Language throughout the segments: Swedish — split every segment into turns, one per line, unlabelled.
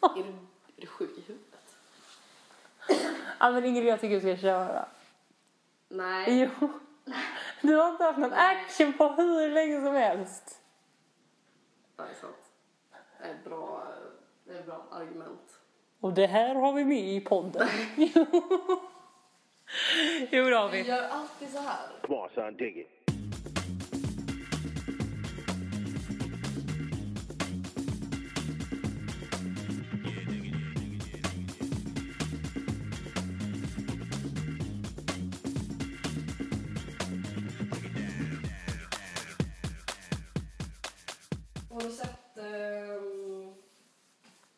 Är du, är du sjuk i huvudet?
Ja men Ingrid jag tycker du ska köra.
Nej.
Jo. Du har inte haft någon action på hur länge som helst.
Nej, det är sant. Det är ett bra, det är ett bra argument.
Och det här har vi med i podden. Jo. Jo det har vi.
gör alltid så här.
Come on, son, dig it.
Har du sett ehm,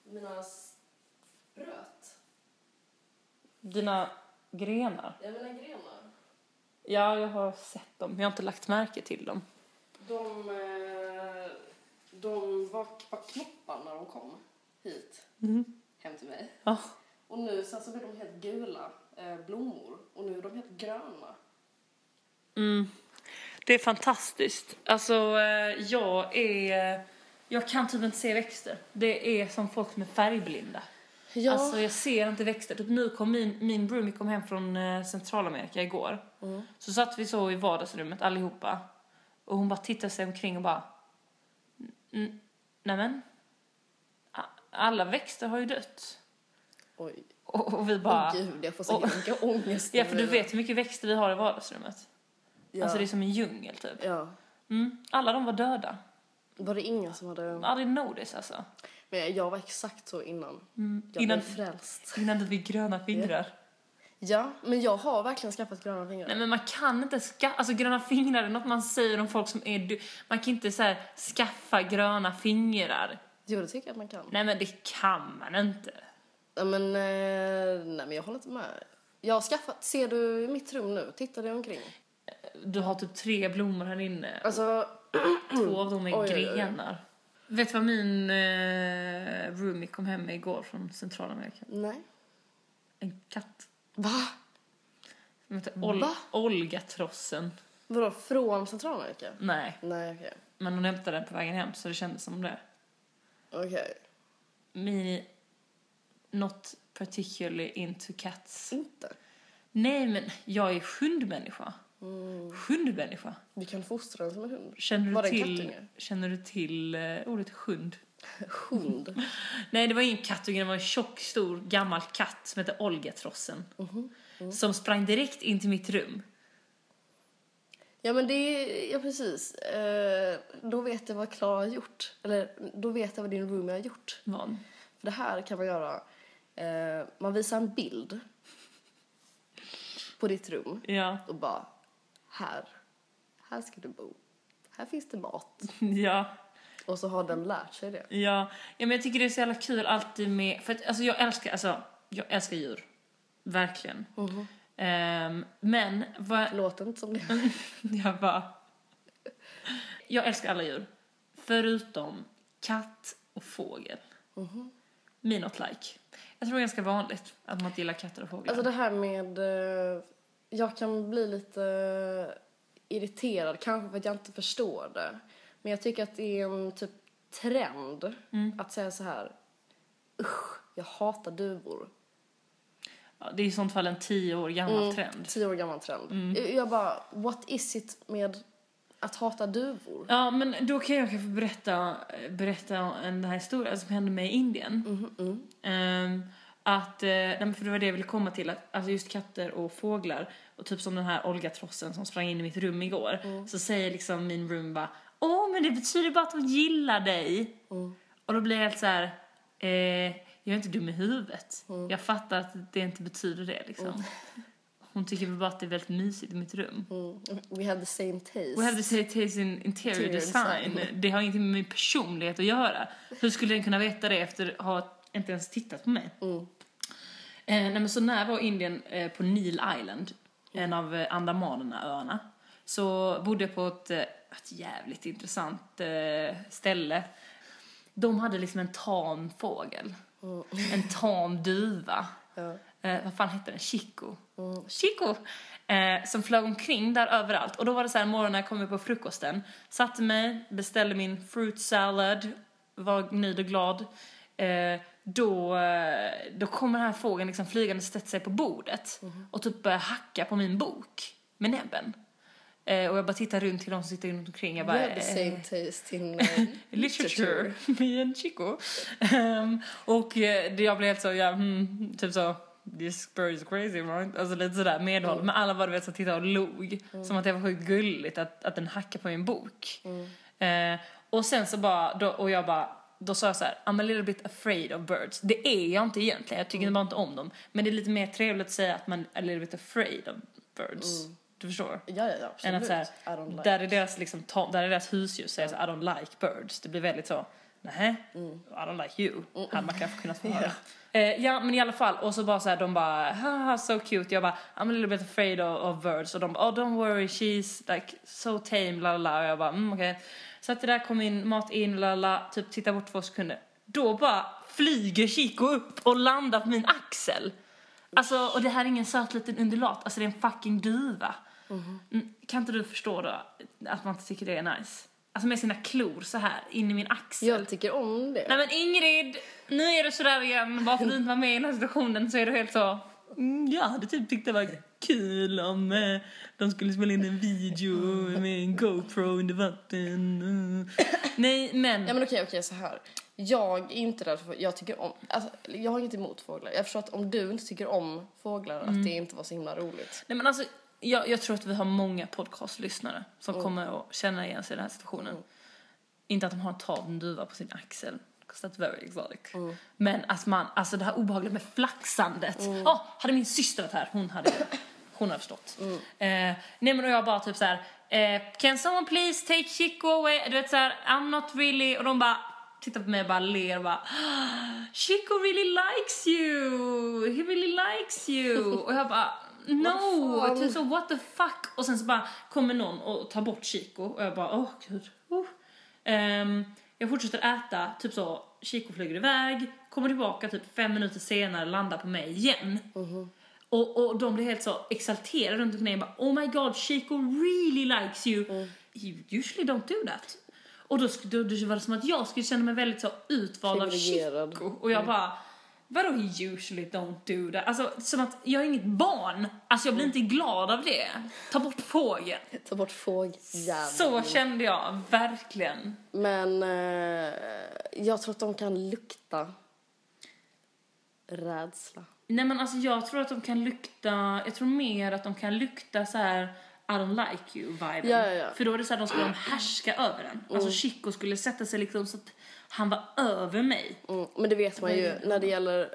mina spröt?
Dina grenar.
Ja, mina grenar.
Ja jag har sett dem men jag har inte lagt märke till dem.
De, eh, de var, var knoppar när de kom hit, hem till mig.
Ja.
Och nu sen så blev de helt gula eh, blommor och nu är de helt gröna.
Mm. Det är fantastiskt. Alltså, eh, jag är... eh, Jag kan typ inte se växter. Det är som folk som är färgblinda.
Ja.
Alltså, jag ser inte växter. Typ nu kom min, min roomie kom hem från eh, Centralamerika igår.
Mm.
Så satt vi så i vardagsrummet allihopa. Och hon bara tittade sig omkring och bara... "N- Nämen. a- Alla växter har ju dött.
Oj,
Och, och vi bara...
åh gud jag får
så
så
Och-
mycket ångest.
ja, för du vet hur mycket växter vi har i vardagsrummet.
Ja.
Alltså det är som en djungel typ.
ja.
Mm. Alla de var döda.
Var det ingen som hade...
I didn't know this alltså.
Men jag var exakt så innan. Jag
Mm. Innan-
blev frälst.
Innan du fick gröna fingrar.
Ja, men jag har verkligen skaffat gröna fingrar.
Nej men man kan inte skaffa, alltså gröna fingrar är något man säger om folk som är du. Man kan inte så här, skaffa gröna fingrar.
Jo, det tycker jag att man kan.
Nej men det kan man inte.
Ja, men, eh, nej, men jag håller inte med. Jag har skaffat, ser du mitt rum nu? Tittar du omkring?
Du har typ tre blommor här inne.
Alltså,
Två av dem är
Oj, oj, oj.
grenar. Vet du vad min eh, roomie kom hem med igår från Centralamerika?
nej.
En katt.
Va?
Som heter Ol-
Va?
Olga-trossen.
Vadå, från Centralamerika?
Nej,
Nej, okej.
men hon hämtade den på vägen hem så det kändes som det.
Okej.
me not particularly into cats.
Inte?
Nej, men jag är hundmänniska.
Mm.
Hundmänniska.
Vi kan fostra den som en hund.
Känner
Var
du
det en
till,
kattunge?
känner du till eh, ordet hund?
Hund?
Nej, det var ingen kattunge, det var en tjock, stor, gammal katt som hette Olgatrossen. Som sprang direkt in till mitt rum.
Ja, men det är... Ja, precis. Eh, då vet jag vad Klara har gjort. Eller, då vet jag vad din roomie har gjort.
Vad?
För det här kan man göra. Eh, man visar en bild på ditt rum.
Ja,
och bara här, här ska du bo. Här finns det mat.
ja.
Och så har den lärt sig det.
Ja, ja men jag tycker det är så jävla kul alltid med, för att, alltså jag älskar, alltså jag älskar djur. Verkligen. Ehm, men vad,
Låter inte som det.
jag bara... Jag älskar alla djur. Förutom katt och fågel. Me not like. Jag tror det är ganska vanligt att man inte gillar katter och fåglar.
Alltså det här med... eh, Jag kan bli lite irriterad, kanske för att jag inte förstår det. Men jag tycker att det är en typ trend att säga så här. Usch, jag hatar duvor.
ja, det är i sånt fall en tio år gammal trend.
Tio år gammal trend.
Mm.
Jag bara, what is it med att hata duvor?
Ja, men då kan jag kanske berätta, berätta en den här historien som hände mig i Indien. Ehm, att, eh, nej, men för det var det jag ville komma till, att alltså just katter och fåglar och typ som den här Olga Trossen som sprang in i mitt rum igår, så säger liksom min room bara Åh, men det betyder bara att hon gillar dig. Och då blir jag helt så här, eh, jag är inte dum i huvudet. Jag fattar att det inte betyder det liksom. Hon tycker väl bara att det är väldigt mysigt i mitt rum.
Mm. We have the same taste.
We have the same taste in interior,
Interior
design.
design.
Det har ingenting med min personlighet att göra. Hur skulle den kunna veta det efter att ha inte ens tittat på mig?
Mm.
Eh, nej, men så när jag var i Indien eh, på Neil Island,
Mm.
en av eh, Andamanerna, öarna, så bodde jag på ett, eh, ett jävligt intressant eh, ställe. De hade liksom en tam fågel.
Mm.
En tam duva. Eh, vad fan hette den? Chico.
Mm.
Chico! Eh, som flög omkring där överallt. Och då var det så här en morgon när jag kom upp på frukosten. Satte mig, beställde min fruit salad, var nöjd och glad. Eh, då, eh, då kommer den här fågeln liksom flygande sätta sig på bordet
Mm-hmm.
och typ börjar hacka på min bok med näbben. Eh, och jag bara tittar runt till de som sitter runt omkring. Jag
We
bara,
have the
eh,
same taste in eh,
literature, me and Chico. Ehm, och eh, det- jag blev helt så, ja, mm, typ så, this bird is crazy right? Alltså lite sådär medhåll. Men alla bara du vet så tittade och log. Som att det var sjukt gulligt att, att den hackar på min bok. Eh, och sen så bara, då, och jag bara, då sa jag så här, I'm a little bit afraid of birds. Det är jag inte egentligen, jag tycker bara inte om dem. Men det är lite mer trevligt att säga att man är a little bit afraid of birds. Du förstår?
Ja, ja, ja, absolut.
Än att så här,
I don't like.
där är deras, liksom, ta- där är deras husdjur säger så I don't like birds. Det blir väldigt så, nej,
Mm.
I don't like you. Hade man kanske kunnat få höra. Eh, ja men i alla fall, och så bara så här, de bara haha so cute, jag bara I'm a little bit afraid of, of birds och de bara oh don't worry she's like so tame la la la och jag bara mm okej. Så att det där kom in, mat in la la la, typ titta bort två sekunder. Då bara flyger Chico upp och landar på min axel. Alltså, och det här är ingen söt liten undulat, alltså det är en fucking duva. Mm, Kan inte du förstå då att man inte tycker det är nice? Alltså med sina klor så här in i min axel.
Jag tycker om det.
Nej men Ingrid, nu är du sådär igen. Varför du inte var med i den här situationen så är du helt så... Mm, jag hade typ tyckt det var kul om eh, de skulle spela in en video med en GoPro under vatten. Mm. Nej men...
Ja men okej, okej så här. Jag är inte rädd för jag tycker om, alltså, jag har inget emot fåglar. Jag förstår att om du inte tycker om fåglar
Mm.
att det inte var så himla roligt.
Nej men alltså, jag, jag tror att vi har många podcastlyssnare som kommer att känna igen sig i den här situationen. Inte att de har en taven duva på sin axel. 'cause That's very exotic. Men att man, alltså det här obehagliga med flaxandet. Ja, hade min syster varit här, hon hade, hon hade förstått. Eh, nej men och jag bara typ så här. Eh, can someone please take Chico away? Du vet så här, I'm not really, och de bara tittar på mig och bara ler och bara "Ah, Chico really likes you! He really likes you! Och jag bara
What
no!
the fuck?
Typ så what the fuck? Och sen så bara kommer någon och tar bort Chico och jag bara åh gud. Oh. Ehm, jag fortsätter äta, typ så Chico flyger iväg, kommer tillbaka typ fem minuter senare, landar på mig igen. Och, och de blir helt så exalterade runt omkring mig. Oh my god, Chico really likes you. You usually don't do that. Och då, sk- då, då var det som att jag skulle känna mig väldigt så utvald av
Privilegierad.
Chico. Och jag bara, vadå he usually don't do that? Alltså som att jag är inget barn. Alltså jag blir inte glad av det. Ta bort fågeln.
Ta bort fågjäveln.
Så kände jag verkligen.
Men eh, jag tror att de kan lukta rädsla.
Nej men alltså jag tror att de kan lukta, jag tror mer att de kan lukta så här I don't like you viben.
Ja, ja, Mm. ja.
För då är det så här, de skulle de härska över den. Alltså Chico skulle sätta sig liksom så att han var över mig.
Mm, men det vet man ju när det gäller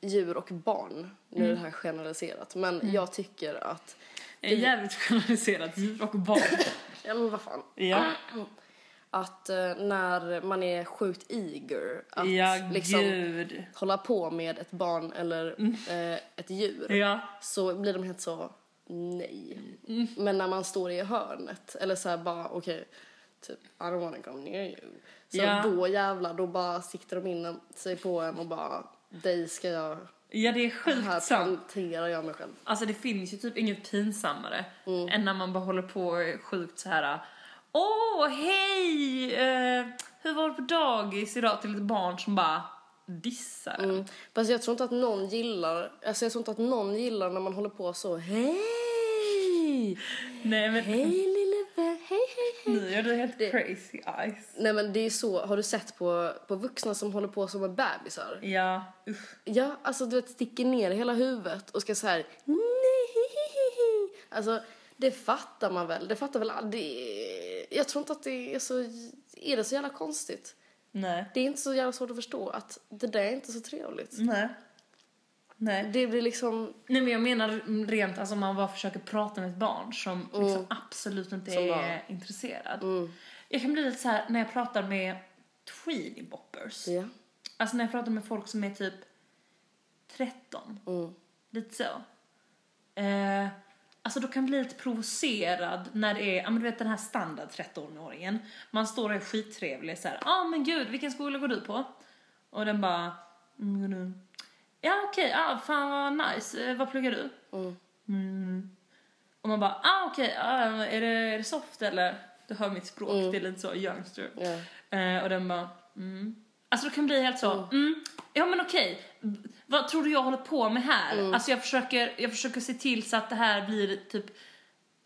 djur och barn. Nu
Mm.
är det här generaliserat, men jag tycker att...
Det är
Mm.
jävligt generaliserat djur och barn.
Ja, men vad fan.
ja.
Att eh, när man är sjukt eager att
ja,
liksom
gud. Mm.
hålla på med ett barn eller eh, ett djur
Ja.
så blir de helt så nej. Men när man står i hörnet eller så här bara okej, typ I don't wanna go near you. Så
Ja.
då jävlar, då bara siktar de in sig på en och bara dig ska jag,
ja, det är sjukt
här
sant.
planterar jag mig själv.
Alltså det finns ju typ inget pinsammare
Mm.
än när man bara håller på och är sjukt så här. Åh, hej! Eh, hur var det på dagis idag till ett barn som bara dissar en.
Mm. Fast jag tror inte att någon gillar, alltså jag tror inte att någon gillar när man håller på så hej,
Nej men
hej lille vän, hej hej hej.
nu gör du helt crazy eyes.
Nej men det är så, har du sett på, på vuxna som håller på som med bebisar?
Ja, usch.
Ja, alltså du vet sticker ner hela huvudet och ska så här nej. Alltså det fattar man väl, det fattar väl all- det, Jag tror inte att det är så, är det så jävla konstigt?
Nej.
Det är inte så jävla svårt att förstå att det där är inte så trevligt.
Nej. Nej.
Det blir liksom,
Nej men jag menar rent alltså om man bara försöker prata med ett barn som liksom absolut inte
Mm. Som
är
bara- Mm.
intresserad. Jag kan bli lite så här när jag pratar med tweenie boppers.
ja.
Alltså när jag pratar med folk som är typ 13.
Mm.
Lite så. Eh, alltså då kan jag bli lite provocerad när det är, ja men du vet den här standard 13-åringen. Man står och är skittrevlig så här, ja ah, men gud vilken skola går du på? Och den bara, mm, går du- ja okej, ah, fan vad nice, eh, vad pluggar du?
Mm.
Mm. Och man bara, ah okej, ah, är, det, är det soft eller? Du hör mitt språk, det är lite så youngster.
Ja.
Eh, och den bara, mm. Alltså då kan det bli helt så, mm, ja men okej, vad tror du jag håller på med här?
Mm.
Alltså jag försöker, jag försöker se till så att det här blir typ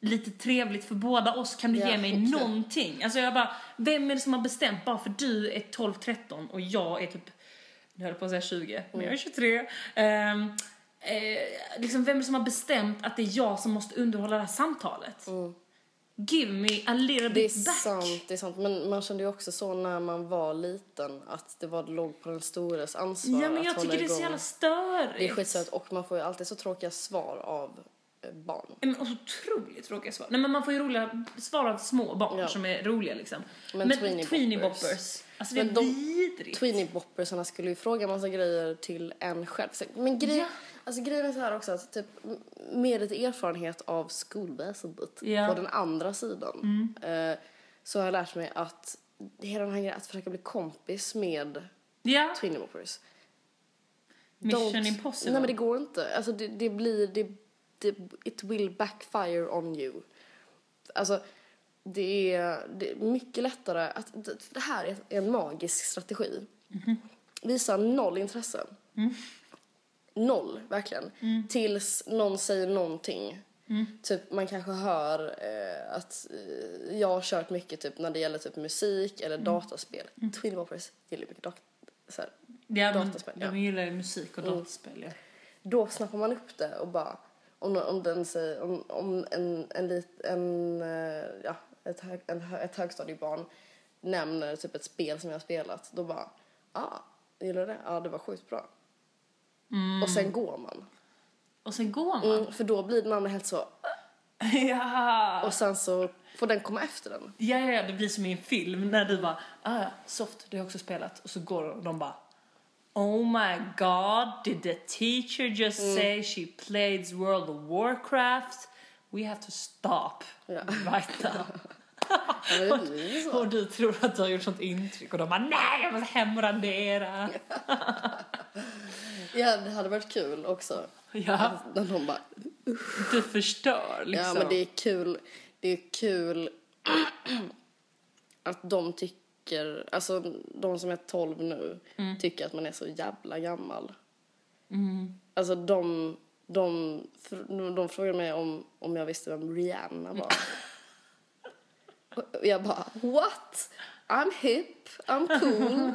lite trevligt för båda oss, kan du
Ja,
ge mig
exakt.
någonting? Alltså jag bara, vem är det som har bestämt bara för du är 12-13 och jag är typ, nu höll jag på att säga 20, men
Mm.
jag är 23. Ehm, eh, liksom vem är det som har bestämt att det är jag som måste underhålla det här samtalet? Give me a little
Mm. Det är
bit back.
sant, det är sant. Men man kände ju också så när man var liten att det var låg på den stores ansvar
Ja men
att
jag
hålla
tycker det är så
igång.
jävla störigt.
Det är skitstört och man får ju alltid så tråkiga svar av eh, barn.
Nej, Men och så otroligt tråkiga svar. Nej men man får ju roliga svar av små barn
Ja.
som är roliga liksom.
Men
Men,
tweenie
tweenie,
boppers.
boppers. Alltså det är
Men de-
vidrigt.
Tweenie-boppersarna skulle ju fråga massa grejer till en själv. Så- Men grej,
Ja.
alltså grejen är så här också att typ, m- med lite erfarenhet av skolväsendet
Ja. Mm.
på den andra sidan eh, så har jag lärt mig att hela den här grejen att försöka bli kompis med
ja,
Twinnyboppers.
Mission Impossible.
Nej men det går inte. Alltså det, det blir, det, det, it will backfire on you. Alltså det är, det är mycket lättare att, det, det här är en magisk strategi. Visa noll intresse. Noll, verkligen. Tills någon säger någonting. Typ man kanske hör eh, att eh, jag har kört mycket typ när det gäller typ musik eller dataspel. Mm. Twinnyboppers gillar mycket dat- så här,
ja, men
dataspel, ja. Mm.
De gillar ju musik och dataspel ja.
då snappar man upp det och bara om, om den säger, om, om en, en, lit, en, eh, ja, ett, hög, en, hö- ett högstadiebarn nämner typ ett spel som jag har spelat, då bara, ah, gillar du det? Ja, ah, det var sjukt bra. Och sen går man.
Och sen går man.
Mm, för då blir den andra helt så, Mm.
ja.
och sen så får den komma efter den.
ja, ja, det blir som i en film när du bara ah, ja, soft, det har jag också spelat. Och så går de och de bara Oh my god, did the teacher just
Mm.
say she plays World of Warcraft? We have to stop right now.
Ja, men det blir ju så.
Och du tror att du har gjort sånt intryck och de bara nej jag måste hemrandera.
Ja, det hade varit kul också.
Ja,
När någon bara,
du förstör liksom.
Ja, men det är kul. Det är kul att de tycker, alltså de som är 12 nu, tycker att man är så jävla gammal. Alltså de, de, fr- de frågade mig om, om jag visste vem Rihanna var. Och jag bara, what? I'm hip, I'm cool.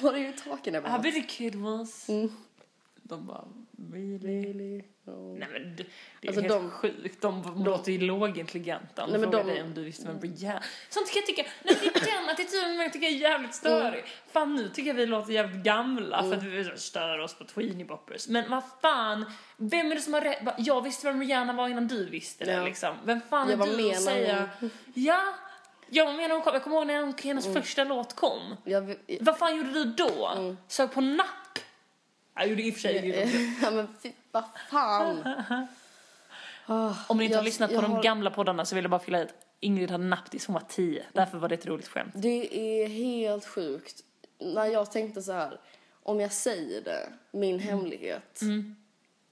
What are you talking
How
about?
big the kid was.
Mm.
De bara really?
Really? No.
Nej men det, det är
Alltså,
helt
de-
sjukt. De, låter ju lågintelligenta. Om
Nej,
nej,
men
men
de-
dig om du visste vem Brian... Sånt kan jag tycka, nej, det är den attityden jag tycker är jävligt störig.
Mm.
Fan nu tycker jag vi låter jävligt gamla för att vi så stör oss på Tweenie Boppers. Men vad fan, vem är det som har rätt? Va, Jag visste vem Rihanna var innan du visste det
Ja.
liksom. Vem fan
Ja, vad
är du
menar
att säga? Ja, jag menar hon kom, jag kommer ihåg när hon- hennes
Mm.
första låt kom.
Jag, vill-
Vad fan gjorde du då?
Mm.
Sög på napp? Jag gjorde i och för sig
Eh, ja men fy, vad fan.
Ah, Om ni inte
Jag-
har lyssnat på
jag
de
har-
gamla poddarna så vill jag bara fylla ut. Ingrid hade napp tills hon var 10. Därför var det ett roligt skämt.
Det är helt sjukt. När jag tänkte så här, om jag säger det, min
Mm.
hemlighet,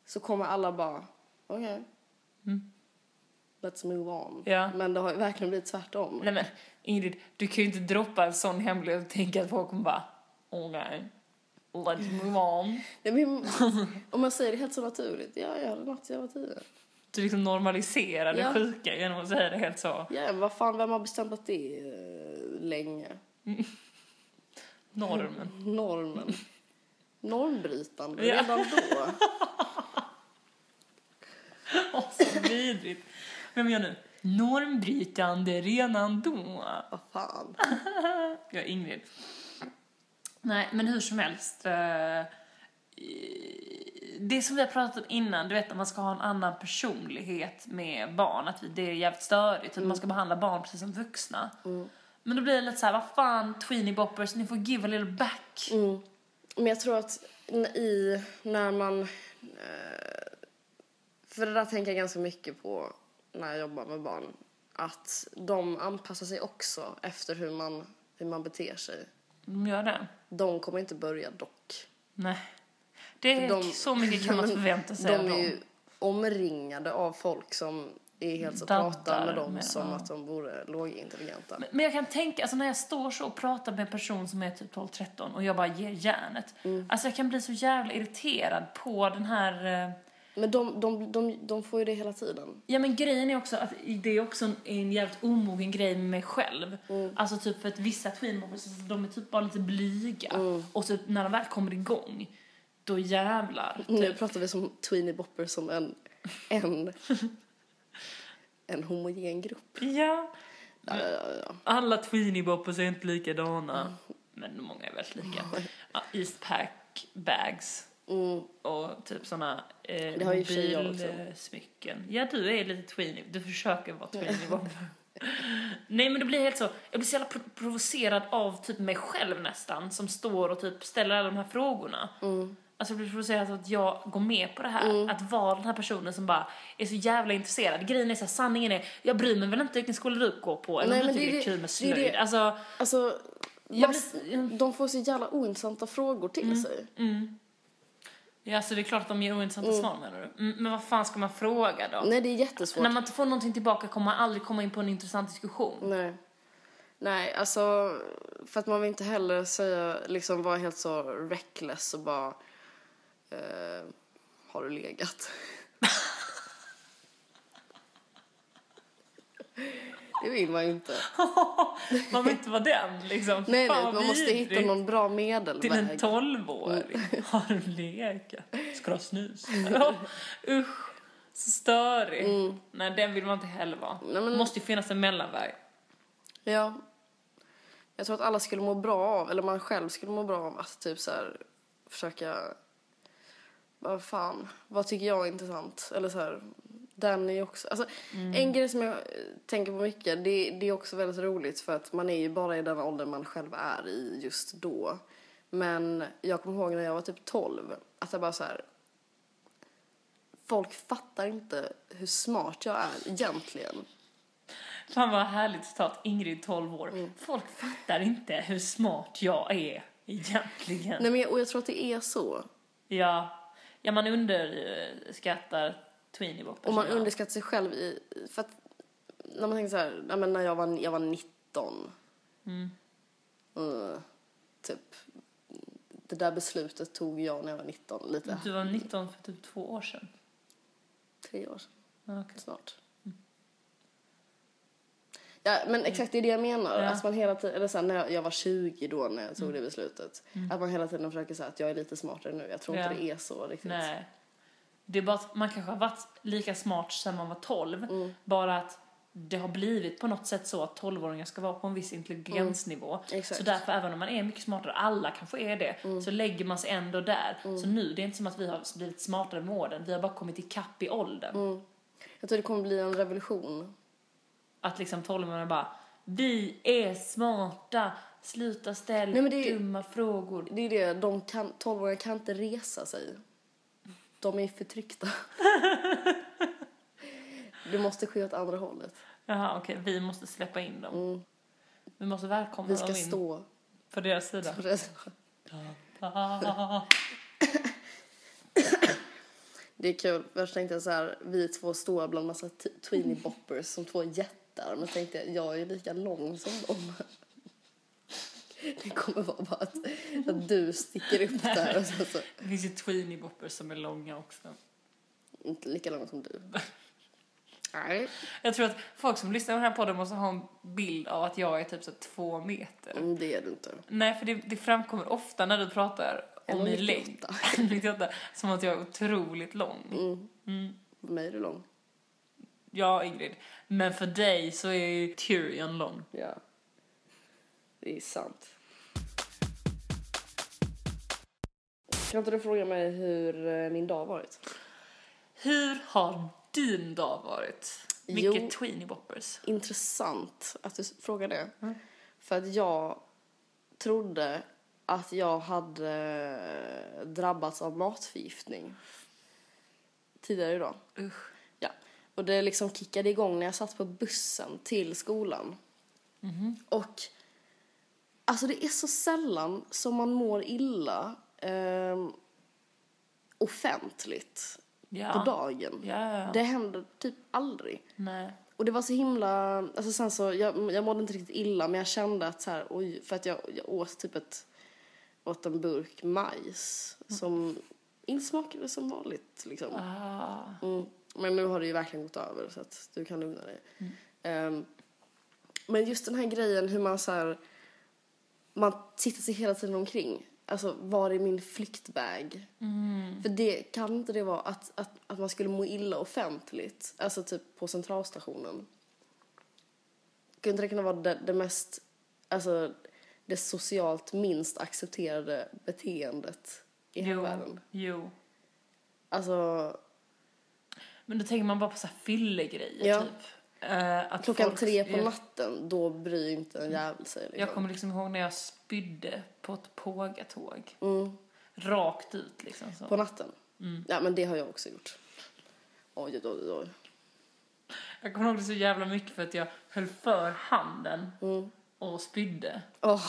så kommer alla bara, okej. Let's move on.
Mm. Ja.
Men det har ju verkligen blivit tvärtom.
Nej men Ingrid, du kan ju inte droppa en sån hemlighet och tänka att folk kommer bara okej, let's move on.
Nej, men, om man säger det helt så naturligt, ja jag hade natt jag var tio.
Du liksom normaliserar det
Ja.
sjuka genom att säga det helt så.
Ja, men vad fan, vem har bestämt att det är eh, länge?
Normen.
Normen. Normbrytande
Ja.
redan då.
Åh, så vidrigt. Vem gör nu? Normbrytande redan då.
Vad fan.
Jag är Ingrid. Nej, men hur som helst. eh, Det som vi har pratat om innan, du vet att man ska ha en annan personlighet med barn, att vi- det är jävligt störigt,
Mm.
att man ska behandla barn precis som vuxna. Men då blir det lite så här, vad fan tweenie boppers, ni får give a little back.
Mm. Men jag tror att n- i, när man... eh, För det där tänker jag ganska mycket på när jag jobbar med barn. Att de anpassar sig också efter hur man, hur man beter sig.
De gör det.
De kommer inte börja dock.
Nej. Det är
För de-
så mycket kan man förvänta sig
De
av
är
dem.
ju omringade av folk som är helt så
Daltar
pratar med dem
med,
som
ja.
att de vore lågintelligenta.
Men jag kan tänka, alltså när jag står så och pratar med en person som är typ 12-13 och jag bara ger järnet.
Mm.
Alltså jag kan bli så jävla irriterad på den här... eh,
Men de, de, de, de får ju det hela tiden.
Ja men grejen är också att det är också en, en jävligt omogen grej med mig själv.
Mm.
Alltså typ för att vissa tweenmobbers, alltså, de är typ bara lite blyga.
Mm.
Och så när de väl kommer igång, då jävlar. typ.
Nu pratar vi som Tweenie Bopper som en, en, en homogen grupp.
Ja.
Ja, ja, ja.
Alla tweenieboppers är inte likadana. Men många är väldigt lika. Ja, Eastpack bags.
Mm.
Och typ såna eh,
Det har ju tjejer
mobilsmycken. Ja, du är lite tweenie. Du försöker vara tweeniebopper. Nej men det blir helt så, jag blir så jävla pro- provocerad av typ mig själv nästan som står och typ ställer alla de här frågorna.
Mm.
Alltså jag blir provocerad av att jag går med på det här. Att vara den här personen som bara är så jävla intresserad. Grejen är så här, sanningen är, jag bryr mig väl inte vilken skola du går på eller
Nej,
om du
men det
tycker det
är
är
det-
kul med
det är
slöjd.
det-
Alltså,
Alltså,
Jag
mass,
blir-
de får så Mm. jävla ointressanta frågor till sig.
ja, alltså det är klart att de ger ointressanta svar menar du. Mm, Men vad fan ska man fråga då?
Nej, det är jättesvårt.
När man inte får någonting tillbaka kommer man aldrig komma in på en intressant diskussion.
Nej. Nej, alltså för att man vill inte heller säga, liksom vara helt så reckless och bara eh, har du legat? det vill man ju inte.
man vill inte vara den liksom.
Nej, nej,
Fan,
man måste
vidrigt.
hitta någon Mm. bra
Till en
medelväg.
tolvåring. Har du lekat? Ska du ha snus? Ja, Usch, så störig. Nej, den vill man inte heller vara.
Mm. Nej, men-
måste ju finnas en mellanväg.
Ja. Jag tror att alla skulle må bra av, eller man själv skulle må bra av att typ så här försöka vad fan, vad tycker jag är intressant? Eller så här, den är ju också, alltså en grej som jag eh, tänker på mycket, det, det är också väldigt roligt för att man är ju bara i den ålder man själv är i just då. Men jag kommer ihåg när jag var typ 12, att jag bara så här. folk fattar inte hur smart jag är egentligen.
Fan vad härligt citat, Ingrid 12 år.
Mm.
Folk fattar inte hur smart jag är egentligen.
Nej, men jag, och jag tror att det är så.
Ja. ja, man underskattar tweenieboppers.
Och man underskattar sig själv i, för att när man tänker så här, nej men när jag var, jag var 19.
Mm.
Eh, typ, det där beslutet tog jag när jag var 19, lite,
Du var 19 för typ två år sedan.
tre år sedan
Ja, okej.
snart.
Mm.
Ja, men exakt det är det jag menar.
Ja. Mm.
Att man hela tiden, eller så här, när jag, jag var 20 då när jag tog det beslutet. Att man hela tiden försöker säga att jag är lite smartare nu. Jag tror
Ja.
inte det är så riktigt.
Nej. Det är bara att man kanske har varit lika smart sedan man var 12.
Mm.
Bara att det har blivit på något sätt så att 12-åringar ska vara på en viss intelligensnivå.
Mm. Exakt. Mm.
Så därför även om man är mycket smartare, alla kanske är det, så lägger man sig ändå där. Så nu, det är inte som att vi har blivit smartare med åren, vi har bara kommit ikapp i åldern.
Mm. Jag tror det kommer bli en revolution.
Att liksom 12-åringar bara, vi är smarta, sluta ställa
Nej, men det är-
dumma frågor.
Det är det, de kan, 12-åringar kan inte resa sig. De är förtryckta. det måste ske åt andra hållet.
Jaha, okej, vi måste släppa in dem. Vi måste välkomna
Mm. Vi ska
dem in
stå.
på deras sida.
Det är kul, först tänkte jag så här, vi två står bland massa t- tweenie boppers som två jättar. Men tänkte jag, jag är ju lika lång som dem. Det kommer vara bara att, att du sticker upp där. Och så, så,
Det finns ju tweenie-boppers som är långa också.
inte lika lång som du. Nej,
Jag tror att folk som lyssnar på den här podden måste ha en bild av att jag är typ så här två meter.
mm, det är du inte.
Nej, för det, det framkommer ofta när du pratar om
1,98.
min längd. 98, som att jag är otroligt lång.
Mm. För mig är du lång.
Ja, Ingrid. Men för dig så är ju Tyrion lång.
Ja. Det är sant. Kan inte du fråga mig hur eh, min dag har varit?
Hur har din dag varit?
Jo.
Mycket tweenie-boppers.
Intressant att du s- frågar det. För att jag trodde att jag hade eh, drabbats av matförgiftning tidigare idag.
Usch.
Ja. Och det liksom kickade igång när jag satt på bussen till skolan.
Mhm.
Och alltså det är så sällan som man mår illa ehm, offentligt.
Ja.
på dagen.
Ja, ja.
Det händer typ aldrig.
Nej.
Och det var så himla, alltså sen så, jag, jag mådde inte riktigt illa men jag kände att så här, oj, för att jag, jag åt typ ett, åt en burk majs
Mm.
som inte smakade som vanligt liksom.
Ah.
Mm. Men nu har det ju verkligen gått över så att du kan lugna dig. Ehm, men just den här grejen hur man så här, man tittar sig hela tiden omkring. Alltså var är min flyktväg? För det kan inte det vara att, att, att man skulle må illa offentligt, alltså typ på centralstationen. Kunde inte det kunna vara det, det mest, alltså det socialt minst accepterade beteendet i hela
Jo.
världen?
jo.
Alltså
Men då tänker man bara på så här fyllegrejer
Ja.
typ. Eh, att
Klockan
folk-
tre på
jag-
natten, då bryr inte en jävel sig. Liksom.
Jag kommer liksom ihåg när jag spydde på ett pågatåg.
mm,
Rakt ut liksom. Så.
på natten?
Mm.
Ja, men det har jag också gjort. Oj, oj, oj, oj.
Jag kommer ihåg det så jävla mycket för att jag höll för handen
Mm.
och spydde.
Åh,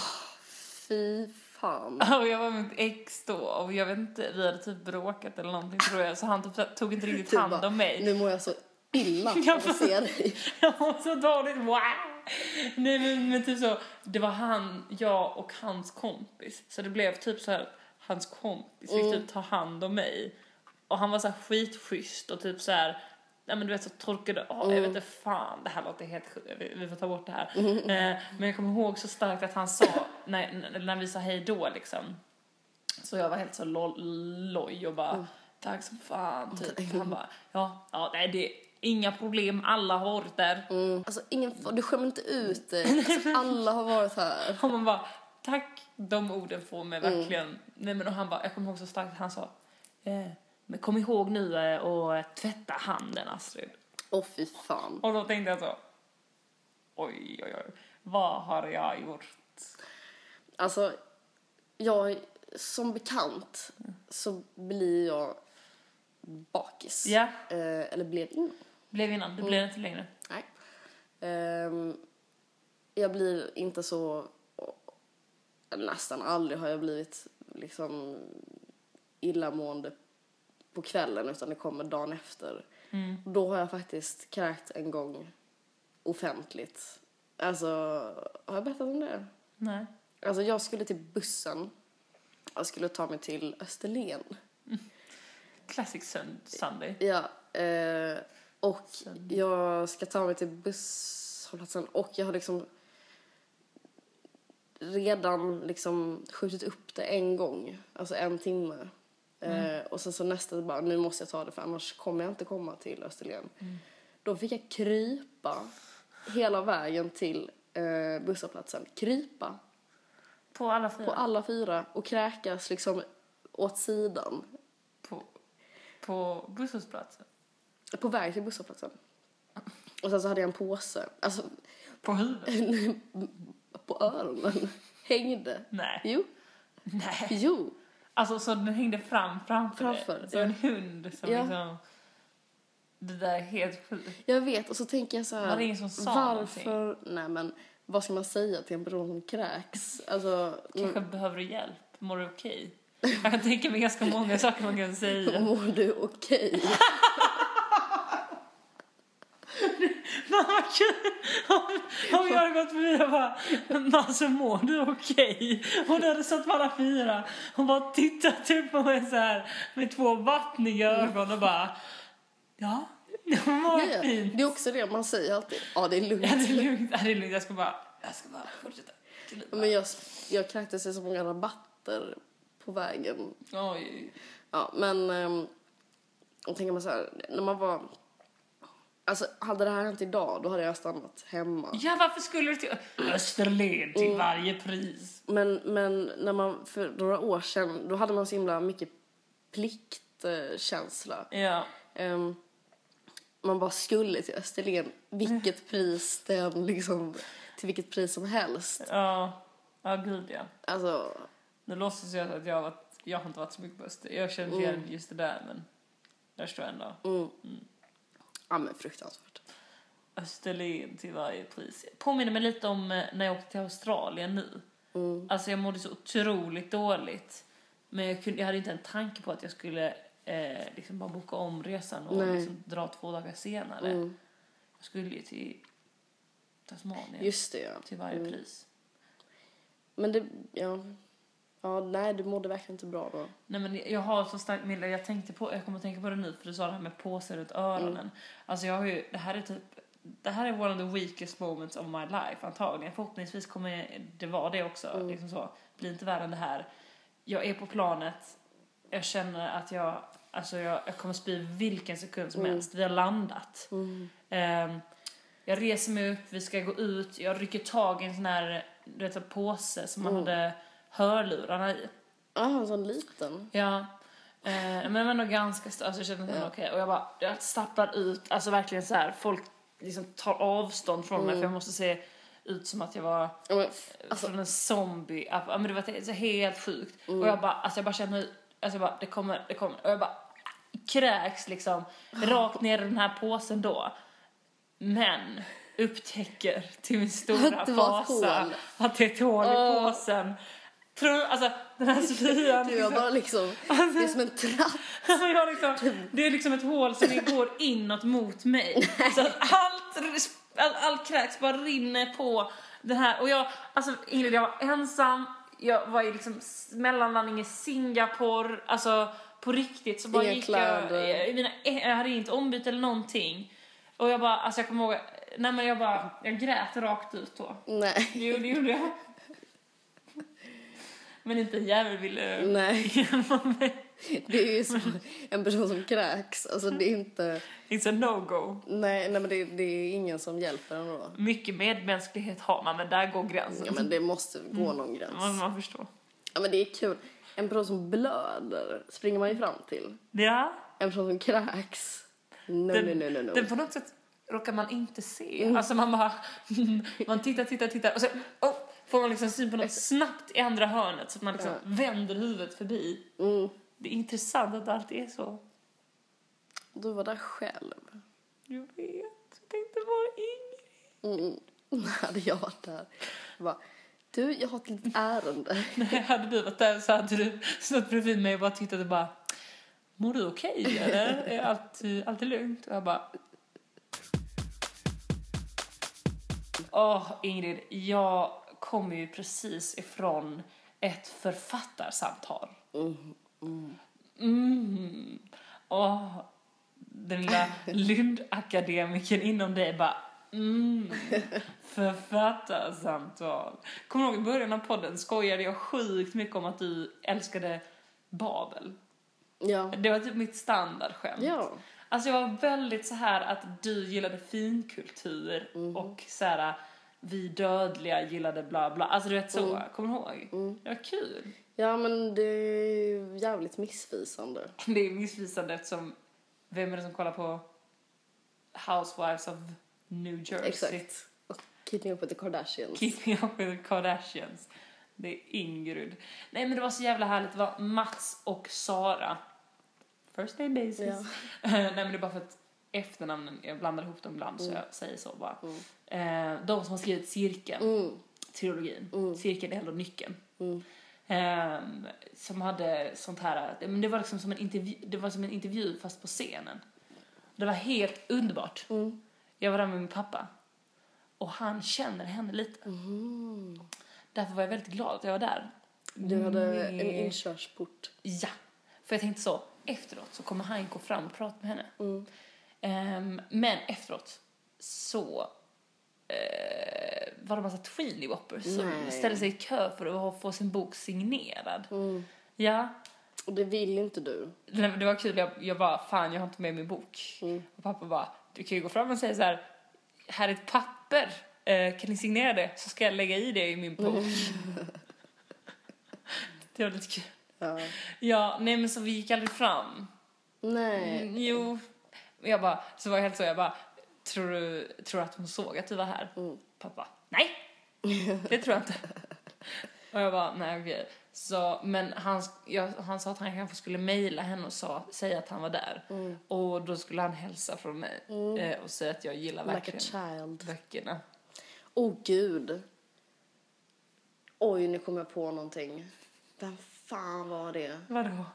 fy fan.
Och jag var med mitt ex då och jag vet inte, vi hade typ bråkat eller någonting tror jag. Så han typ så här tog inte riktigt
Du
hand
bara,
om mig.
Nu mår jag så illa
Ja,
av att se dig.
Jag mår så dåligt, wow. Nej men, men typ så, det var han, jag och hans kompis. Så det blev typ så här, hans kompis fick typ ta hand om mig. Och han var så här skitschysst och typ så här, nej men du vet så torkade av, jag vet inte fan, det här låter helt sjukt, vi, vi får ta bort det här. Eh, men jag kommer ihåg så starkt att han sa, när, när- när vi sa hej då liksom. Så jag var helt så lo- loj och bara tack som fan typ. Han bara ja, ja nej det är inga problem, alla har varit där.
Mm. Alltså, ingen, fa- du skämmer inte ut dig. Alltså, alla har varit här.
Och man bara tack, de orden får mig verkligen. Nej men och han bara, jag kommer ihåg så starkt, han sa eh, men kom ihåg nu eh, och eh, tvätta handen Astrid.
Åh, fy fan.
Och då tänkte jag så oj oj oj, vad har jag gjort?
Alltså, jag, som bekant så blir jag bakis.
Ja,
Eh, eller blev innan.
blev innan, det blev inte längre.
Nej. Ehm, jag blir inte så... Nästan aldrig har jag blivit liksom illamående på kvällen utan det kommer dagen efter. Då har jag faktiskt kräkt en gång offentligt. Alltså, har jag berättat om det?
Nej.
Alltså jag skulle till bussen. Jag skulle ta mig till Österlen.
Classic sun- Sunday.
Ja, eh, och jag ska ta mig till busshållplatsen och jag har liksom redan liksom skjutit upp det en gång, alltså en timme. Eh, och sen så nästa bara, nu måste jag ta det för annars kommer jag inte komma till Österlen. Då fick jag krypa hela vägen till eh, busshållplatsen. Krypa
På alla
på
fyra.
alla fyra och kräkas liksom åt sidan
på, på busshållplatsen?
på väg till busshållplatsen. Och sen så hade jag en påse, alltså
På huvudet?
på öronen, hängde.
Nej.
Jo,
Nej.
jo.
Alltså så den hängde fram framför,
Framför,
dig? Så
ja.
en hund som
Ja.
liksom... Det där är helt sjukt.
Jag vet, och så tänker jag så här.
Var det ingen som sa
varför, nej men vad ska man säga till en person som kräks? Alltså,
Kanske behöver du hjälp? Mår du okej? Jag kan tänka mig ganska många saker man kan säga.
mår du okej?
Man vad kul! Om, om jag hade gått förbi och bara Nasse mår du okej? Och då hade satt på alla fyra och bara tittat upp på mig så här med två vattniga ögon och bara Ja, jag mår
Ja, ja.
fint.
Det är också det man säger alltid, ja det är
Ja, det
lugnt.
är lugnt. Ja, det är lugnt. Jag ska bara, jag ska bara fortsätta.
Men jag, jag kräktes i så många rabatter på vägen
Oj.
Ja, men... ehm, Och tänker man så här, när man var... Alltså, hade det här hänt idag, då hade jag stannat hemma.
Ja, varför skulle du till Österlen
Mm.
till varje pris?
Men, men när man, för några år sedan, då hade man så himla mycket pliktkänsla.
Ja.
Ehm, man bara skulle till Österlen, vilket pris den liksom, till vilket pris som helst.
Ja, ja gud ja.
Alltså,
Nu låtsas jag att jag har varit, jag har inte varit så mycket på Öster. Jag känner inte
Oh.
igen just det där, men där står jag ändå.
mm. ja men fruktansvärt.
Österlen till varje pris. Påminner mig lite om eh, när jag åkte till Australien nu.
Mm.
Alltså jag mådde så otroligt dåligt. Men jag, kunde, jag hade inte en tanke på att jag skulle eh, eh, liksom bara boka om resan och
Nej.
liksom dra två dagar senare.
Mm.
Jag skulle ju till Tasmanien
Just Mm. det, ja.
till varje pris.
Men det, ja. Ja, nej, du mådde verkligen inte bra då.
Nej men jag har så starkt minne, jag tänkte på, jag kommer att tänka på det nu för du sa det här med påsen runt öronen. Alltså jag har ju, det här är typ, det här är one of the weakest moments of my life antagligen. Förhoppningsvis kommer det vara det också, liksom så. Blir inte värre än det här. Jag är på planet, jag känner att jag, alltså jag, jag kommer spy vilken sekund som helst. Vi har landat.
Mm.
Ehm, jag reser mig upp, vi ska gå ut, jag rycker tag i en sån här, du vet, så här påse som man hade hörlurarna i.
Ah, en sån liten.
Ja. Eh, men den var nog ganska stor, alltså jag kände att den var okej. Och jag bara, jag stapplar ut, alltså verkligen så här, folk liksom tar avstånd från mig för jag måste se ut som att jag var eh,
Ja, men, f- Mm. alltså, Mm.
från en zombie. Ja, men det var så helt sjukt. Och jag bara, alltså jag bara känner hur, alltså jag bara, det kommer, det kommer. Och jag bara kräks liksom rakt ner i den här påsen då. Men upptäcker till min stora
Att det var ett
fasa
hål.
att det är ett hål i
Åh.
påsen. Tror, alltså den här spyan
du var
liksom-
bara liksom, det är som en trapp.
jag har
Typ.
liksom, det är liksom ett hål som går inåt mot mig. Så att allt, all, all kräks bara rinner på det här. Och jag, alltså Ingrid, jag var ensam, jag var i liksom s- mellanlandning i Singapore, alltså på riktigt så bara
Inga
gick
kläder.
jag, jag, mina, jag hade inget ombyte eller någonting. Och jag bara, alltså jag kommer ihåg, nej men jag bara, jag grät rakt ut då.
Nej.
Jo, det gjorde jag. Men inte en jävel ville
Nej,
hjälpa mig.
det är ju som en person som kräks. Alltså det är inte,
It's a no-go.
nej, nej men det, det är ingen som hjälper ändå.
Mycket medmänsklighet har man, men där går gränsen.
Ja men det måste gå någon
man,
gräns.
man förstår.
Ja men det är kul. En person som blöder springer man ju fram till.
Ja,
En person som kräks. No,
den,
no, no, no, no.
den på något sätt råkar man inte se.
Mm.
Alltså man bara, man tittar, tittar, tittar och sen oh, får man liksom syn på något snabbt i andra hörnet så att man liksom
Ja.
vänder huvudet förbi.
Mm.
Det är intressant att det alltid är så.
Du var där själv.
Jag vet, jag tänkte bara Ingrid.
Mm. Hade jag varit där. Jag Bara, du, jag har ett litet ärende.
Nej, hade du varit där så hade du stått bredvid mig och bara tittat och bara Mår du okej eller? Är allt, allt är lugnt? Och jag bara Åh Ingrid, jag kommer ju precis ifrån ett författarsamtal. Mm. Åh, den lilla Lundakademikern inom dig bara mm, författarsamtal. Kommer du ihåg i början av podden skojade jag sjukt mycket om att du älskade Babel.
Ja.
Det var typ mitt standardskämt.
Ja.
Alltså jag var väldigt så här att du gillade finkultur
Mm.
och så här vi dödliga gillade bla bla. Alltså du vet så,
Mm.
kommer du ihåg? Det var kul.
Ja, men det är ju jävligt missvisande.
Det är missvisande eftersom vem är det som kollar på Housewives of New Jersey?
Exakt. Och Keeping up with the Kardashians.
Keeping up with the Kardashians. Det är Ingrid. Nej men det var så jävla härligt. Det var Mats och Sara. First name basis.
Ja.
Nej men det är bara för att efternamnen, jag blandar ihop dem ibland så jag säger så bara. Eh, de som har skrivit Cirkeln, trilogin. Cirkeln är ändå nyckeln. Ehm, som hade sånt här, men det var liksom som en intervju, det var som en intervju fast på scenen. Det var helt underbart. Jag var där med min pappa. Och han känner henne lite. Därför var jag väldigt glad att jag var där.
Du hade en
Med-
inkörsport.
Ja. För jag tänkte så, efteråt så kommer han gå fram och prata med henne. Ehm, men efteråt så eh, var det massa tweenywoppers som
Nej.
ställde sig i kö för att ha- få sin bok signerad. Ja.
Och det vill inte du.
Nej, men Det var kul, jag, jag bara fan jag har inte med min bok. Och pappa bara, du kan ju gå fram och säga så här, här är ett papper, eh, kan ni signera det så ska jag lägga i det i min bok. det var lite kul.
Ja.
Ja, nej men så vi gick aldrig fram.
Nej.
Mm, Jo. Men Jag bara, så var jag helt så, jag bara, tror du, tror du att hon såg att du var här?
Mm.
Pappa, nej! Det tror jag inte. och jag bara, nej okej. Så, men han, sk- jag, han sa att han kanske skulle mejla henne och sa, säga att han var där.
Mm.
Och då skulle han hälsa från mig eh, och säga att jag gillar
Like a
verkligen
child.
böckerna.
Åh, oh, gud. Oj, nu kom jag på någonting. Vem fan var det?
Vadå?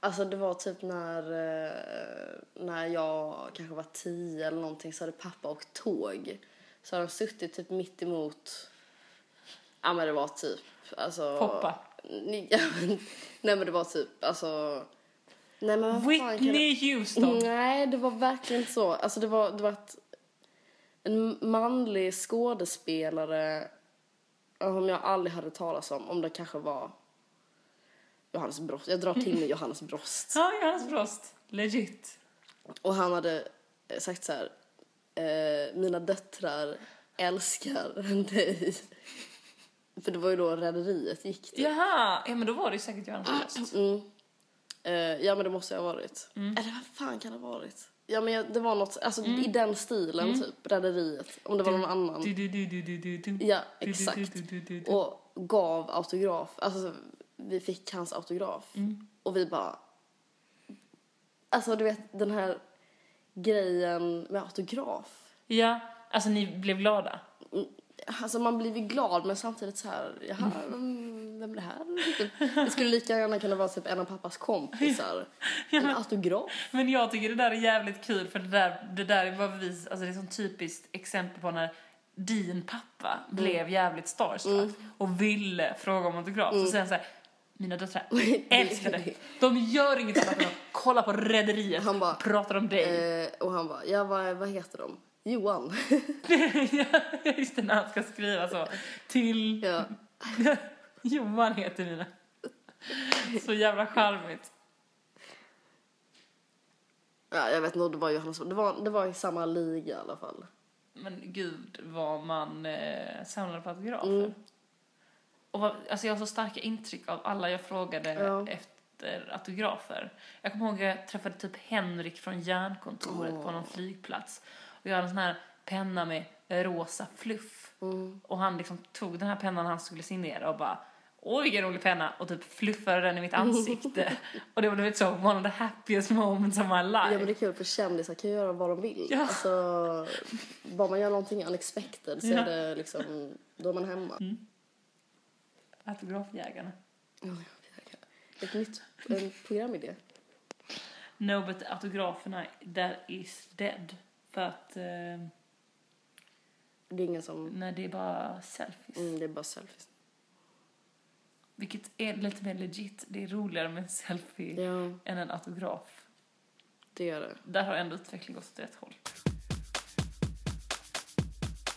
Alltså det var typ när, eh, när jag kanske var tio eller någonting så hade pappa åkt tåg. Så hade de suttit typ mitt emot. Ja men det var typ alltså.
Poppa.
Ni- ja, men- Nej men det var typ alltså. Nej men vad fan kan Mm. det-
Whitney Houston.
Nej, det var verkligen inte så. Alltså det var, det var ett, en manlig skådespelare som jag aldrig hade talat om, om det kanske var Johannes Brost. Jag drar till med Johannes Brost.
Ja, Johannes Brost. Legit.
Och han hade eh, sagt så här, eh, mina döttrar älskar dig. För det var ju då Rederiet gick till.
Jaha, ja men då var det ju säkert Johannes Brost.
Mm. Eh, ja men det måste jag ha varit.
Mm.
Eller vad fan kan det ha varit? Ja men jag, det var något, alltså i den stilen typ, Rederiet. Om det var någon annan.
Mm. Du, du, du, du, du, du, du.
Ja,
Du, du,
exakt.
du, du, du, du.
Och gav autograf, alltså vi fick hans autograf.
Mm.
Och vi bara... Alltså du vet den här grejen med autograf.
Ja, alltså ni blev glada.
Alltså man blir ju glad men samtidigt så här, jaha,
Mm.
mm, vem, vem är det här? Typ. Det skulle lika gärna kunna vara typ en av pappas kompisar. En autograf.
Men jag tycker det där är jävligt kul för det där, det där är bara bevis, alltså det är ett typiskt exempel på när din pappa
Mm.
blev jävligt starstruck och ville fråga om autograf.
Mm.
Så säger han såhär, mina döttrar älskar dig. De gör inget annat än att kolla på Rederiet
Han bara,
och pratar om dig.
Eh, och han bara, ja vad, vad heter de? Johan.
ja, just det, när han ska skriva så. Till
ja.
Johan heter mina. Så jävla charmigt.
ja, jag vet inte om det var Johannes. Det var, det var i samma liga i alla fall.
Men gud vad man eh, samlade på autografer.
Mm.
Och vad, alltså jag har så starka intryck av alla jag frågade
Ja.
efter autografer. Jag kommer ihåg jag träffade typ Henrik från Järnkontoret på någon flygplats. Och jag hade en sån här penna med rosa fluff.
Mm.
Och han liksom tog den här pennan han skulle signera och bara Åh vilken rolig penna! Och typ fluffade den i mitt ansikte. och det var du vet så, one of the happiest moments of my life.
Ja men det är kul för kändisar kan ju göra vad de vill.
Ja.
Alltså, bara man gör någonting unexpected så
Ja. Mm.
är det liksom, då är man hemma.
Autografjägarna.
Ett nytt en programidé.
No, but autograferna, that is dead. För att, eh,
Det är ingen som,
nej det är bara selfies.
mm, det är bara selfies.
Vilket är lite mer legit, det är roligare med en selfie
Ja,
än en autograf.
det är det.
Där har ändå utvecklingen gått åt rätt håll.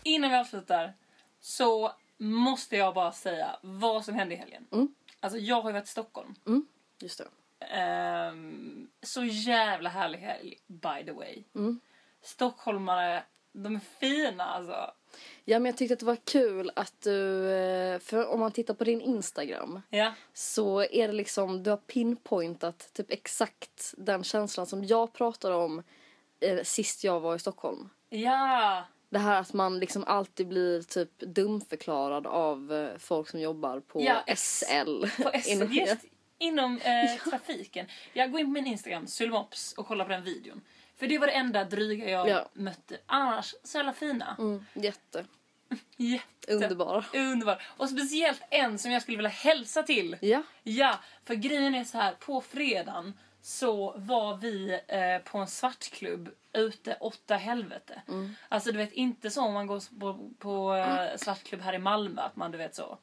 Innan vi avslutar så måste jag bara säga vad som hände i helgen.
Mm.
Alltså jag har ju varit i Stockholm.
Just det.
Ehm, så jävla härlig helg, by the way.
Mm.
Stockholmare, de är fina alltså.
Ja men jag tyckte att det var kul att du, eh, för om man tittar på din Instagram
Ja.
så är det liksom, du har pinpointat typ exakt den känslan som jag pratade om eh, sist jag var i Stockholm.
Ja!
Det här att man liksom alltid blir typ dumförklarad av eh, folk som jobbar på
Ja, ex-
SL.
På S-
Inom-
just inom eh, trafiken. Jag går in på min Instagram, Sylmops, och kollar på den videon. För det var det enda dryga jag
Ja.
mötte. Annars, så jävla fina.
Mm, jätte.
Jätte-
Underbara.
Underbar. Och speciellt en som jag skulle vilja hälsa till.
Ja.
Ja, för grejen är så här, på fredagen så var vi eh, på en svartklubb ute åtta helvete.
Mm.
Alltså du vet inte så om man går på, på eh, svartklubb här i Malmö att man du vet så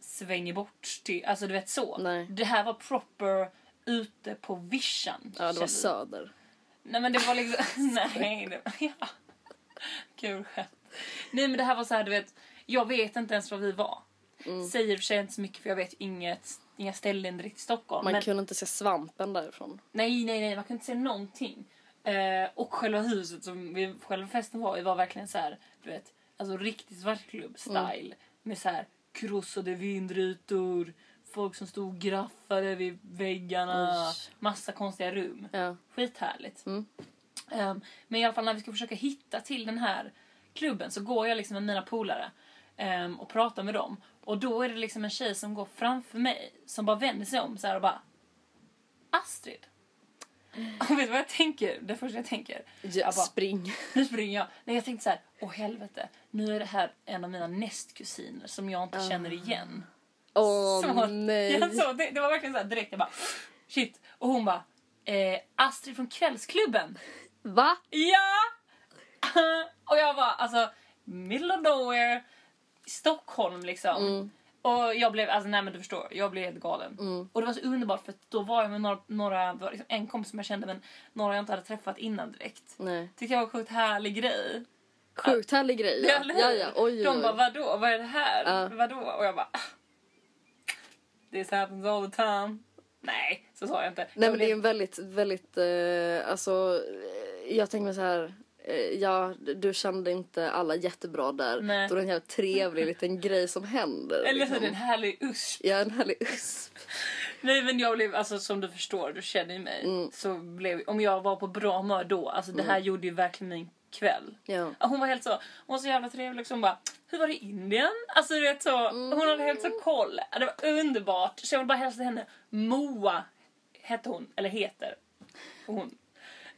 svänger bort till, alltså du vet så.
Nej.
Det här var proper ute på vischan.
Ja, det var
känner vi.
Söder.
Nej men det var liksom, nej. Det, ja. Kul skämt. Nej men det här var så här, du vet, jag vet inte ens var vi var.
Mm.
Säger i och för sig inte så mycket för jag vet inget, inga ställen direkt i Stockholm.
Man
men,
kunde inte se svampen därifrån.
Nej, nej, nej, man kunde inte se någonting. Eh, och själva huset som vi, själva festen var i var verkligen så här, du vet, alltså riktigt
Mm.
svartklubb-style. Med så här krossade vindrutor, folk som stod och graffade vid väggarna,
Usch.
massa konstiga rum.
Ja.
Skithärligt. Ehm, men i alla fall när vi ska försöka hitta till den här klubben så går jag liksom med mina polare ehm, och pratar med dem. Och då är det liksom en tjej som går framför mig som bara vänder sig om så här och bara Astrid. Och vet du vad jag tänker? Det första jag tänker.
Ja,
Jag bara,
spring.
nu springer jag. Nej, jag tänkte så här, åh helvete. Nu är det här en av mina nästkusiner som jag inte känner igen.
Åh
Så-
nej.
Ja, så, det, det var verkligen så här direkt, jag bara shit. Och Och hon bara, eh, Astrid från Kvällsklubben.
Va?
Ja! och jag var alltså, middle of nowhere, Stockholm liksom.
Mm.
Och jag blev, alltså nej men du förstår, jag blev helt galen. Och det var så underbart för att då var jag med några, några det var liksom en kompis som jag kände men några jag inte hade träffat innan direkt.
Nej.
Tyckte jag var en sjukt härlig grej.
Sjukt härlig grej. Ja,
eller hur?
ja, ja. Oj,
De
oj,
bara,
oj.
vadå, vad är det här?
Ja.
Vadå? Och jag bara, "Ah, this happens all the time. Nej, så sa jag inte.
Nej
Jag
men det
blev-
är en väldigt, väldigt, eh, alltså eh, jag tänker mig så här. eh, Ja, du kände inte alla jättebra där.
Nej.
Då är det en jävligt trevlig liten grej som händer.
Eller så är
liksom.
det en härlig usp.
Ja, en härlig usp.
Nej men jag blev, alltså som du förstår, du känner ju mig. Så blev, om jag var på bra humör då, alltså det här gjorde ju verkligen min kväll.
Ja.
Hon var helt så, hon var så jävla trevlig liksom bara, hur var det i Indien? Alltså du vet så, hon hade helt så koll. Ja, Det var underbart. Så jag vill bara hälsa henne, Moa hette hon, eller heter hon.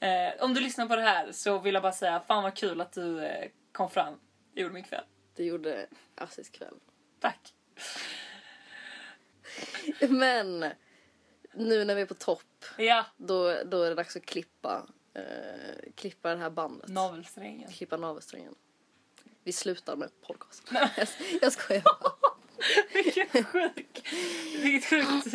Eh, om du lyssnar på det här så vill jag bara säga, fan vad kul att du eh, kom fram. Det gjorde min kväll.
Det gjorde Assis kväll.
Tack.
Men nu när vi är på topp,
Ja,
då, då är det dags att klippa, eh, klippa det här bandet.
navelsträngen.
Klippa navelsträngen. Vi slutar med podcast. Jag, jag skojar bara.
Vilken sjuk... Vilket sjukt...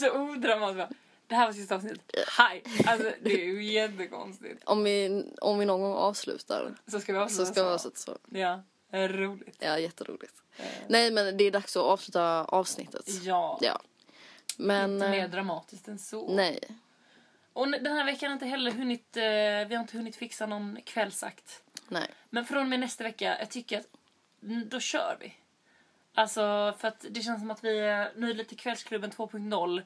Så odramatiskt. bara, Det här var sista avsnittet. Hej! Alltså det är ju jättekonstigt.
Om vi, om vi någon gång avslutar
Så ska vi avsluta
så ska vi avsluta så.
Ja, roligt.
Ja, jätteroligt. Nej, men det är dags att avsluta avsnittet.
Ja,
Ja. Men...
inte mer
eh,
dramatiskt än så.
Nej.
Och n- den här veckan har inte heller hunnit... Eh, vi har inte hunnit fixa någon kvällsakt.
Nej.
Men från och med nästa vecka, jag tycker att mm, då kör vi. Alltså för att det känns som att vi är, nu är det lite kvällsklubben 2.0.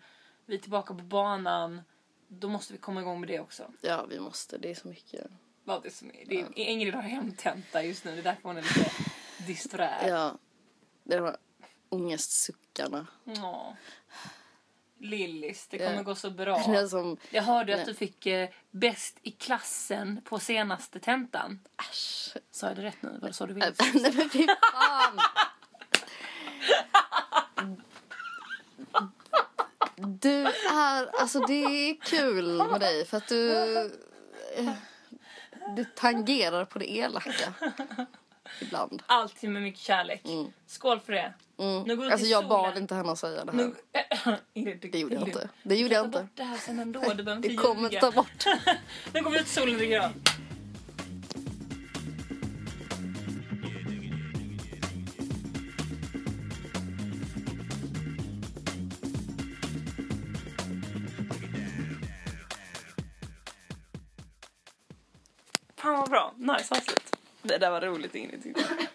Vi är tillbaka på banan. Då måste vi komma igång med det också.
Ja, vi måste. Det är så mycket.
Vad det som är. Det är Ingrid har hemtenta just nu. Det är därför hon är lite disträ.
Ja. Det är de här ångestsuckarna.
Ja. Lillis, det
Ja.
kommer gå så bra.
Det är som...
Jag hörde att
Nej.
du fick eh, bäst i klassen på senaste tentan.
Äsch.
Sa jag det rätt nu? Vad sa du?
Äh, Nej
Vill?
men fy fan! Du är, alltså det är kul med dig för att du, eh, du tangerar på det elaka ibland.
Alltid med mycket kärlek. Skål för det. Nu går vi
Mm. Alltså
till
jag bad
solen.
inte henne att säga det
Nu,
här.
Ingrid, du,
Det gjorde jag
Ingrid,
inte. Det gjorde
ta
jag
bort
inte.
det här sen ändå. Du behöver inte
Vi kommer inte
ljuga.
ta bort det.
Nu går vi ut i solen och dricker öl. Fan vad bra. Nice avslut. Det där var roligt Ingrid tyckte jag.